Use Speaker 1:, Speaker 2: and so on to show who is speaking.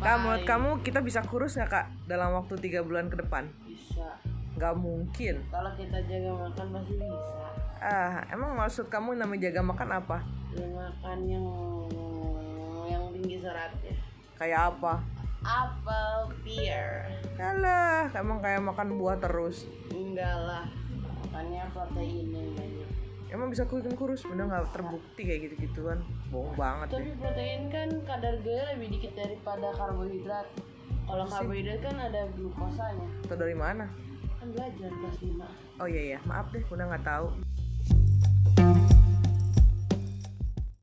Speaker 1: Kak,
Speaker 2: Bye.
Speaker 1: menurut kamu kita bisa kurus nggak kak dalam waktu tiga bulan ke depan?
Speaker 2: Bisa.
Speaker 1: Nggak mungkin.
Speaker 2: Kalau kita jaga makan pasti bisa.
Speaker 1: Ah, emang maksud kamu namanya jaga makan apa?
Speaker 2: Ya, makan yang yang tinggi seratnya.
Speaker 1: Kayak apa?
Speaker 2: Apel pear.
Speaker 1: Alah, emang kayak makan buah terus.
Speaker 2: Enggak lah. Makannya protein yang banyak.
Speaker 1: Emang bisa bikin kurus? Bener nggak terbukti kayak gitu-gituan? Bohong banget deh.
Speaker 2: Tapi protein kan kadar gula lebih dikit daripada karbohidrat. Kalau karbohidrat kan ada glukosanya.
Speaker 1: Atau dari mana?
Speaker 2: Kan belajar kelas 5.
Speaker 1: Oh iya iya, maaf deh, udah nggak tahu.